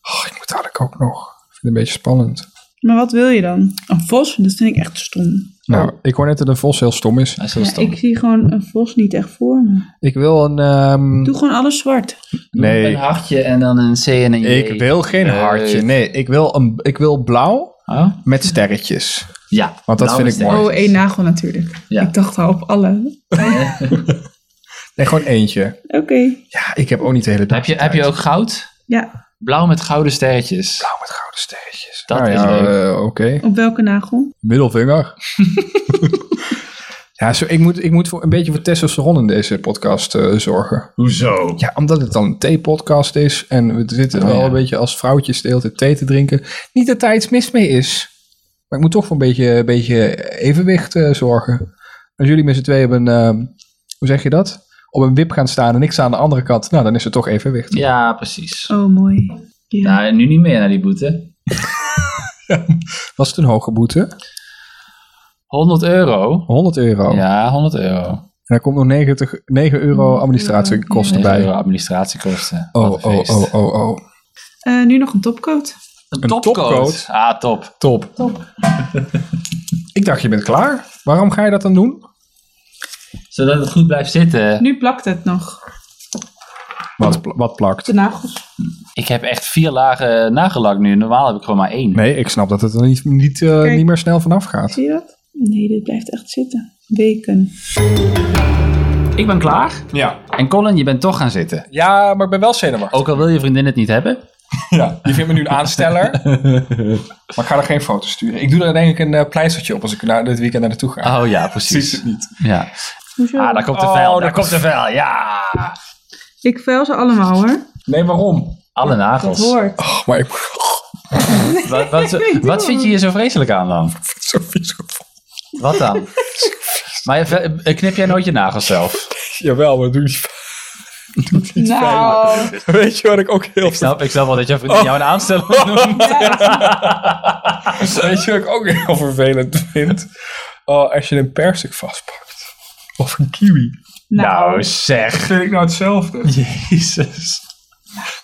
S1: Oh, ik moet dadelijk ook nog. Ik vind het een beetje spannend.
S3: Maar wat wil je dan? Een vos? Dat vind ik echt stom.
S2: Oh.
S1: Nou, ik hoor net dat een vos heel stom is.
S2: Hij is wel
S3: Ja,
S2: stom.
S3: ik zie gewoon een vos niet echt voor me.
S1: Ik wil een... ehm,
S3: Doe gewoon alles zwart.
S2: Een
S1: nee,
S2: hartje en dan een C en een J.
S1: ik wil geen
S2: Nee.
S1: hartje. Nee, ik wil, een, ik wil blauw
S2: Oh?
S1: met sterretjes.
S2: Ja.
S1: Want dat
S2: blauw
S1: vind
S2: is
S1: ik
S2: de-
S1: mooi.
S3: Oh, één nagel natuurlijk.
S2: Ja.
S3: Ik dacht al op alle.
S1: Nee, gewoon eentje.
S3: Oké.
S1: Ja, ik heb ook niet de hele dag
S2: Heb je,
S1: tijd.
S2: heb je ook goud?
S3: Ja.
S2: Blauw met gouden sterretjes.
S1: Blauw met gouden sterretjes.
S2: Dat
S1: Nou
S2: is
S1: ja,
S2: leuk.
S1: eh, Oké.
S3: Op welke nagel?
S2: [LAUGHS]
S1: Middelvinger. ja, zo, ik, moet, ik moet voor een beetje voor testosteron in deze podcast eh, zorgen.
S2: Hoezo?
S1: Ja, omdat het dan een thee-podcast is en we zitten
S2: Oh,
S1: wel
S2: ja.
S1: een beetje als vrouwtjes de hele tijd thee te drinken. Niet dat daar iets mis mee is, maar ik moet toch voor een beetje, een beetje evenwicht eh, zorgen. Als jullie met z'n tweeën op een, ehm, hoe zeg je dat? Op een wip gaan staan en ik sta aan de andere kant, nou dan is er toch evenwicht.
S2: Ja, precies.
S3: Oh, mooi. Ja.
S2: Nou, nu niet meer naar die boete.
S1: Was het een hoge boete?
S2: 100 euro.
S1: 100 euro.
S2: Ja, 100 euro.
S1: En daar komt nog 90, 9 euro administratiekosten
S2: 100
S1: bij.
S2: Mm. euro administratiekosten.
S1: Oh,
S2: Wat een
S1: oh,
S2: feest.
S1: oh, oh, oh.
S3: Eh, nu nog een topcoat.
S2: Een
S1: Een
S2: topcoat.
S1: topcoat.
S2: Ah, top.
S1: Top.
S3: Top.
S1: Ik dacht, je bent klaar. Waarom ga je dat dan doen?
S2: Zodat het goed blijft zitten.
S3: Nu plakt het nog.
S1: Wat, pla- wat plakt?
S3: De nagels.
S2: Ik heb echt vier lagen nagellak nu. Normaal heb ik gewoon maar één.
S1: Nee, ik snap dat het er niet, niet, eh,
S3: Kijk.
S1: niet meer snel vanaf gaat.
S3: Zie je dat? Nee, dit blijft echt zitten. Weken.
S2: Ik ben klaar.
S1: Ja.
S2: En Colin, je bent toch gaan zitten.
S1: ja, maar ik ben wel zenuwachtig.
S2: Ook al wil je vriendin het niet hebben.
S1: Oh, Ja, die vindt me nu een aansteller. [LAUGHS] maar ik ga er geen foto's sturen. Ik doe er denk ik een eh, pleistertje op als ik na, dit weekend naar naartoe ga.
S2: Oh ja,
S1: Ze ziet
S2: precies.
S1: het niet.
S2: Ja.
S3: Hoezo?
S2: Ah, daar komt de
S1: Oh,
S2: vel.
S1: daar
S2: Daar komt de vel, ja.
S3: Ik vuil ze allemaal hoor.
S1: Nee, waarom?
S2: Alle
S3: Dat
S2: nagels.
S3: hoort.
S1: Oh, maar ik [LAUGHS] oh,
S2: Wat, [LAUGHS] wat, wat vind je hier zo vreselijk aan dan?
S1: ik vind het zo vies gevoel.
S2: Wat [LAUGHS] eh, dan? Maar je- knip jij nooit je nagels zelf?
S1: Jawel, maar doe niet.
S3: Oh, Nou,
S1: [LAUGHS] Weet je wat ik ook heel
S2: Ik snap, ik snap wel dat jouw
S1: Oh.
S2: vriendin jou een
S1: [LAUGHS]
S2: aansteller noemt.
S1: Weet je wat ik ook heel vervelend vind? Oh, als je een persik vastpakt. Of een kiwi.
S2: Nou
S3: nou,
S2: zeg.
S1: Vind ik nou hetzelfde?
S2: Jezus.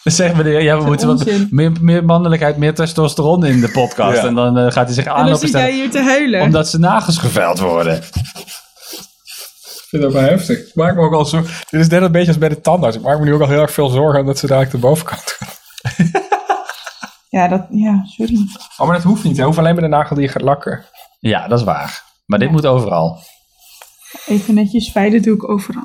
S2: Zeg meneer, ja, we moeten wat
S3: onzin.
S2: meer, meer mannelijkheid, meer testosteron in de podcast.
S1: Ja.
S2: En dan eh, gaat hij zich
S3: en
S2: aan
S3: dan zit jij
S2: opstellen
S3: hier te huilen.
S2: omdat ze nagels geveld worden.
S1: Ik vind het ook wel heftig. Ik maak me ook al zo... Dit is net een beetje als bij de tandarts. Ik maak me nu ook al heel erg veel zorgen omdat ze dadelijk de bovenkant gaan.
S3: Ja, dat, ja, sorry.
S1: Oh, maar dat hoeft niet. Je hoeft alleen maar de nagel die je gaat lakken.
S2: Ja, dat is waar. Maar dit moet overal.
S3: Even netjes veilen doe ik overal.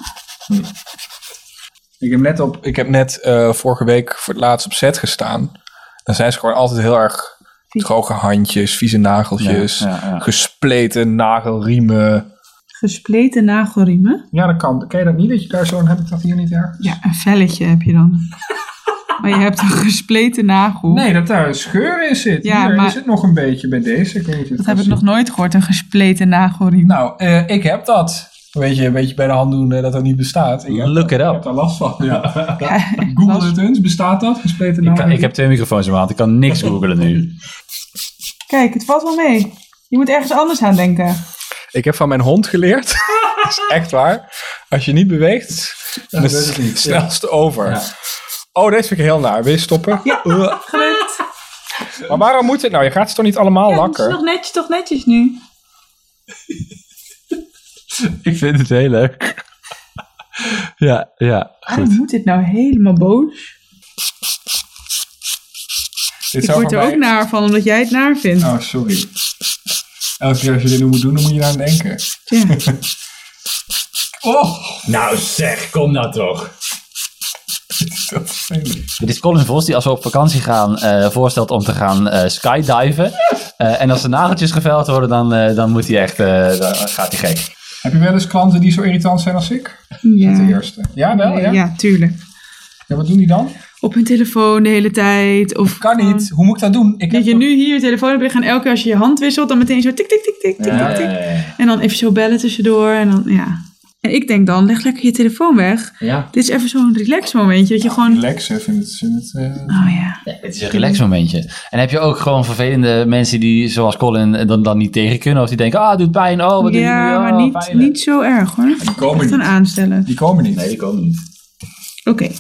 S1: Ik heb net, op, ik heb net eh, vorige week voor het laatst op set gestaan. Dan zijn ze gewoon altijd heel erg
S3: Vies.
S1: droge handjes, vieze nageltjes,
S2: Ja, ja, ja.
S1: gespleten nagelriemen.
S3: Gespleten nagelriemen.
S1: Ja, dat kan. Ken je dat niet? Dat je daar zo'n... Heb ik dat hier niet ergens?
S3: Ja, een velletje heb je [LAUGHS] dan. maar je hebt een gespleten nagel.
S1: Nee, dat daar een scheur in zit.
S3: Ja,
S1: Hier
S3: maar-
S1: is het nog een beetje bij deze. Ik weet niet of je het
S3: dat
S1: kan
S3: heb ik
S1: zien.
S3: nog nooit gehoord, een gespleten nagelriem.
S1: Nou, eh, ik heb dat. Weet je, een beetje bij de hand doen eh, dat dat niet bestaat. Ik heb,
S2: Look it
S1: ik heb
S2: up.
S1: daar last van. Ja.
S3: [LAUGHS] Ja,
S1: Google
S3: was-
S1: het eens. Bestaat dat? nou Gespleten
S2: Ik,
S1: naam?
S2: kan- ik heb twee microfoons in mijn hand. Ik kan niks googelen nu.
S3: Kijk, het valt wel mee. Je moet ergens anders aan denken.
S1: Ik heb van mijn hond geleerd. [LAUGHS] dat is echt waar. Als je niet beweegt, dan is het het snelste over. Oh, deze vind ik heel naar. Wil je stoppen? Uh,
S3: Gelukt.
S1: [LAUGHS] Maar waarom moet het nou? Je gaat ze toch niet allemaal
S3: het is
S1: lakken?
S3: nog netjes, Ah, toch netjes
S2: [LAUGHS]
S3: nu.
S2: Ik vind het heel leuk. Ja, ja.
S3: Waarom moet dit nou helemaal boos?
S1: Dit
S3: Ik
S1: zou
S3: word
S1: voor
S3: er
S1: mij-
S3: ook naar van, omdat jij het naar vindt.
S1: Oh, sorry. Elke keer als je dit nu moet doen, dan moet je aan denken.
S3: Ja.
S1: [LAUGHS] Oh,
S2: Nou zeg, kom nou toch.
S1: dat is vervelend.
S2: Dit is Colin Vos die als we op vakantie gaan eh, voorstelt om te gaan eh, skydiven. Eh, en als de nageltjes geveld worden, dan, eh, dan moet hij echt, eh, dan gaat hij gek.
S1: Heb je wel eens klanten die zo irritant zijn als ik? De
S3: Ja.
S1: eerste. Ja, wel? Ja?
S3: Mm. ja, tuurlijk.
S1: Ja, wat doen die dan?
S3: Op hun telefoon de hele tijd. Of
S1: Kan
S3: gewoon-
S1: niet. Hoe moet ik dat doen? Ik
S3: Dat Mm. je nu hier je telefoon hebt liggen en elke keer als je je hand wisselt, dan meteen zo tik, tik, tik, tik, tik, tik, tik. En dan even zo bellen tussendoor en dan, ja. En ik denk dan, leg lekker je telefoon weg.
S2: Ja.
S3: Dit is even zo'n relax momentje, dat je gewoon...
S1: Relaxen vind het... Vind het eh,
S3: Oh ja.
S2: Ja, Het is een relax momentje. En heb je ook gewoon vervelende mensen die, zoals Colin, eh, dan, dan niet tegen kunnen? Of die denken, ah, het doet pijn, oh, wat doe je nu?
S3: Ja,
S2: Oh,
S3: maar niet,
S2: pijnlijk.
S3: niet zo erg hoor.
S1: Die komen
S3: Echt een
S1: niet.
S3: aanstellen.
S1: Die komen niet.
S2: Nee, die komen niet.
S3: Oké,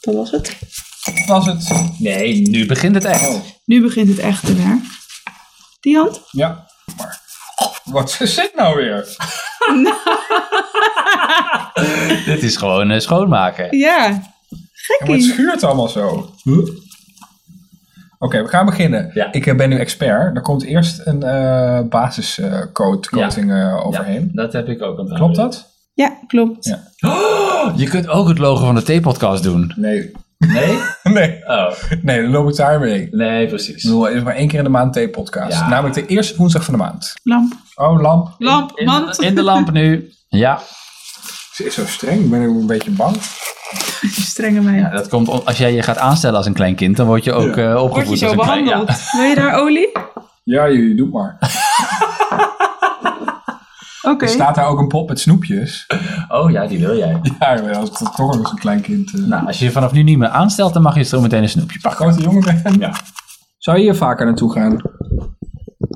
S3: dat was het.
S1: Dat was het.
S2: Nee, nu begint het echt.
S3: Nu begint het echte werk. Die hand?
S1: Ja. Maar... Wat [LAUGHS] is dit nou weer?
S2: Dit is gewoon eh, schoonmaken.
S3: Ja.
S1: En het
S3: Gekkie.
S1: schuurt allemaal zo. Oké, we gaan beginnen.
S2: Ja.
S1: Ik eh, ben nu expert. Er komt eerst een eh basiscoat coating eh, overheen.
S2: dat heb ik ook aan
S1: Klopt dat?
S3: Ja, klopt.
S1: Ja.
S2: Je kunt ook het logo van de T-podcast doen.
S1: Nee. [LAUGHS]
S2: Nee?
S1: nee.
S2: Oh,
S1: Nee, dan loop ik daar mee. Ik
S2: nee, precies.
S1: bedoel, er is maar één keer in de maand thee-podcast.
S2: Ja.
S1: Namelijk de eerste woensdag van de maand.
S3: Lamp.
S1: Oh, lamp.
S3: Lamp,
S2: In,
S3: mand.
S2: in de
S3: [LAUGHS]
S2: lamp nu. Ja,
S1: Ze is zo streng. Ik ben ook een beetje bang.
S3: Strenge meid.
S2: ja dat komt om- als jij je gaat aanstellen als een klein kind, dan word je ook eh, opgevoed
S3: Word je
S2: als
S3: zo
S2: een klein
S3: behandeld? Wil je daar olie? Oké.
S1: Ja, jullie doen maar. Er staat daar ook een pot met snoepjes.
S2: ja. Oh ja, die wil jij.
S1: Ja, maar als het toch nog een klein kind. eh,
S2: [LAUGHS] Nou, als je je vanaf nu niet meer aanstelt, dan mag je zo meteen een snoepje
S1: een
S2: pakken.
S1: grote jongen ben. Ja. Zou je hier vaker naartoe gaan?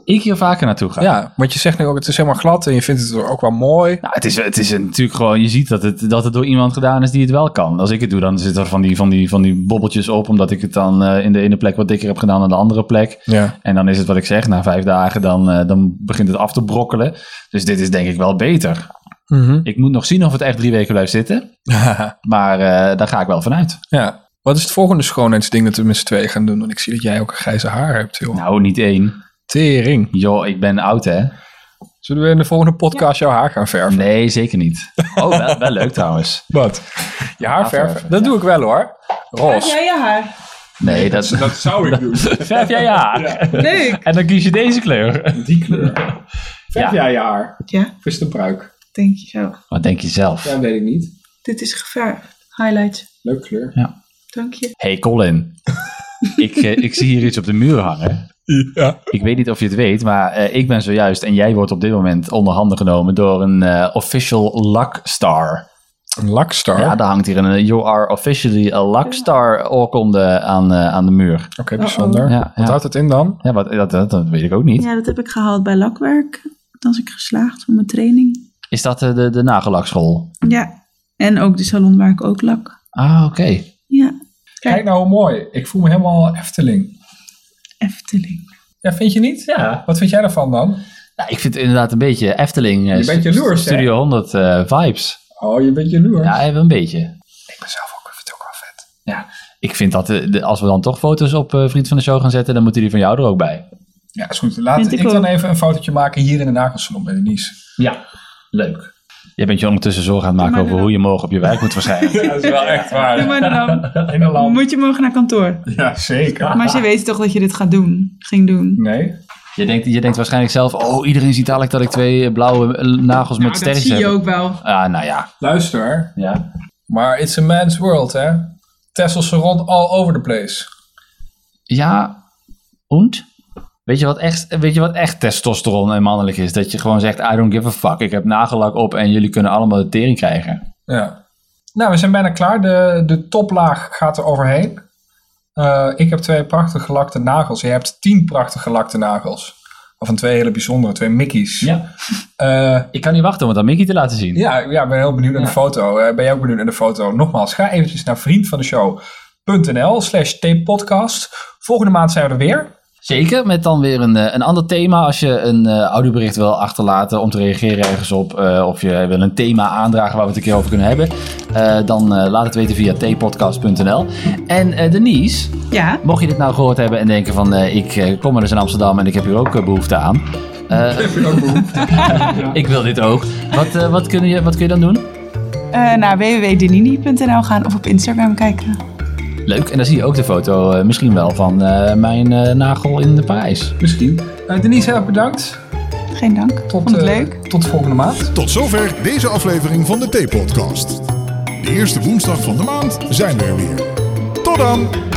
S2: Ik hier vaker naartoe gaan.
S1: Ja, want je zegt nu ook, het is helemaal glad en je vindt het ook wel mooi.
S2: Nou, het is, het is een- natuurlijk gewoon, je ziet dat het, dat het door iemand gedaan is die het wel kan. Als ik het doe, dan zitten er van die, van die, van die bobbeltjes op, omdat ik het dan eh, in de ene plek wat dikker heb gedaan dan de andere plek.
S1: Ja.
S2: En dan is het wat ik zeg, na vijf dagen, dan, eh, dan begint het af te brokkelen. Dus dit is denk ik wel beter.
S1: Mhm.
S2: Ik moet nog zien of het echt drie weken blijft zitten. Maar eh, daar ga ik wel vanuit.
S1: [LAUGHS] ja. Wat is het volgende schoonheidsding dat we met z'n tweeën gaan doen? Want ik zie dat jij ook een grijze haar hebt, joh.
S2: Nou, niet één.
S1: Tering.
S2: Joh, ik ben oud, hè?
S1: Zullen we in de volgende podcast jouw haar gaan verven?
S2: Nee, zeker niet. Oh, wel, wel leuk trouwens.
S1: Wat? Je haar
S2: Haar verven,
S1: verven? Dat doe ik wel hoor.
S3: Heb
S1: Ros.
S3: jij je
S2: [LAUGHS]
S3: haar?
S1: [LAUGHS]
S2: Nee, dat...
S1: Dat zou ik doen.
S2: Verf jij ja.
S3: Leuk.
S2: En dan kies je deze kleur.
S1: [LAUGHS] Die kleur.
S2: Ja.
S1: jij je haar?
S3: Ja,
S1: Of is het een bruik?
S3: denk je zo.
S2: Wat denk je zelf?
S1: Ja, weet ik niet.
S3: Dit is geverfd. Highlights.
S1: Leuke kleur.
S3: Dank je.
S2: Hey Colin, ik, eh, ik zie hier iets op de muur hangen.
S1: Ja.
S2: Ik weet niet of je het weet, maar eh, ik ben zojuist en jij wordt op dit moment onder handen genomen door een eh, official Luck Star.
S1: Lakstar?
S2: Ja, daar hangt hier een eh, You are officially a Luckstar oorkonde aan, eh, aan de muur.
S1: Oké, bijzonder.
S2: Ja, ja.
S1: Wat houdt het in dan?
S2: Ja, wat, dat, dat, dat weet ik ook niet.
S3: Ja, dat heb ik gehaald bij lakwerk. Dat was ik geslaagd voor mijn training.
S2: Is dat eh, de, de nagellakschool?
S3: Ja, en ook de salon waar ik ook lak.
S2: Ah, oké.
S3: Ja,
S1: Kijk, nou hoe mooi. Ik voel me helemaal Efteling.
S3: Efteling.
S1: Ja, vind je niet?
S2: Ja.
S1: Wat vind jij daarvan dan?
S2: Nou, ik vind het inderdaad een beetje Efteling. eh,
S1: Je bent jaloers, hè?
S2: Studio 100 eh, vibes.
S1: Oh, je bent jaloers.
S2: Ja, even een beetje.
S1: Ik ben zelf ook, ik vind het ook wel vet.
S2: Ja, ik vind dat eh, de- als we dan toch foto's op eh, Vriend van de Show gaan zetten, dan moeten die van jou er ook bij.
S1: Ja, is goed. Laat
S3: Vind
S1: ik,
S3: ik
S1: dan
S3: ook.
S1: even een fotootje maken hier in de nagelsalon bij Denise.
S2: Ja, leuk. Jij bent je ondertussen zorgen aan het maken
S3: maar
S2: over
S3: dan-
S2: hoe je morgen op je werk moet verschijnen.
S1: Ja, dat is wel echt waar.
S3: Doe maar
S2: [LAUGHS]
S3: dan.
S1: In de land.
S3: Moet je morgen naar kantoor.
S1: Ja, zeker.
S3: [LAUGHS] Maar ze weten toch dat je dit gaat doen, ging doen.
S1: Nee.
S2: je, denkt, je denkt waarschijnlijk zelf, oh, iedereen ziet dadelijk dat ik twee eh, blauwe eh, nagels met
S3: dat
S2: sterretjes
S3: zie
S2: heb.
S3: je ook wel.
S2: Ah, nou ja.
S1: Luister,
S2: ja.
S1: maar it's a man's world, hè? Testosteron all over the place.
S2: Ja, und? Weet je, wat echt, weet je wat echt testosteron en mannelijk is? Dat je gewoon zegt, I don't give a fuck. Ik heb nagellak op en jullie kunnen allemaal de tering krijgen.
S1: Ja. Nou, we zijn bijna klaar. De, de toplaag gaat er overheen. Eh, ik heb twee prachtig gelakte nagels. Jij hebt tien prachtig gelakte nagels. Of een twee hele bijzondere, twee Mickey's.
S2: Ja.
S1: Eh,
S2: Ik kan niet wachten om het aan Mickey te laten zien.
S1: ja, ja, ik ben heel benieuwd naar de foto. Eh, ben jij ook benieuwd naar de foto? Nogmaals, ga eventjes naar vriendvandeshow.nl slash podcast. Volgende maand zijn we er weer.
S2: Zeker, met dan weer een, eh, een ander thema. Als je een eh, audiobericht wil achterlaten om te reageren ergens op. eh, of je wil een thema aandragen waar we het een keer over kunnen hebben. eh, dan eh, laat het weten via tpodcast.nl. En eh, Denise,
S3: Ja,
S2: mocht je dit nou gehoord hebben en denken van... eh, ik eh, kom maar eens in Amsterdam en ik heb hier ook eh, behoefte aan. Eh, [LAUGHS] ik wil dit ook. Wat, eh, wat, kun je, wat kun je dan doen?
S3: eh, naar www.denini.nl gaan of op Instagram kijken.
S2: Leuk, en dan zie je ook de foto eh, misschien wel van eh, mijn eh, nagel in Parijs.
S1: Misschien. Eh, Denise, heel erg bedankt.
S3: Geen dank.
S1: Tot,
S3: Vond het
S1: eh,
S3: leuk.
S1: tot volgende maand.
S4: Tot zover deze aflevering van de Theepodcast. De eerste woensdag van de maand zijn we er weer. Tot dan!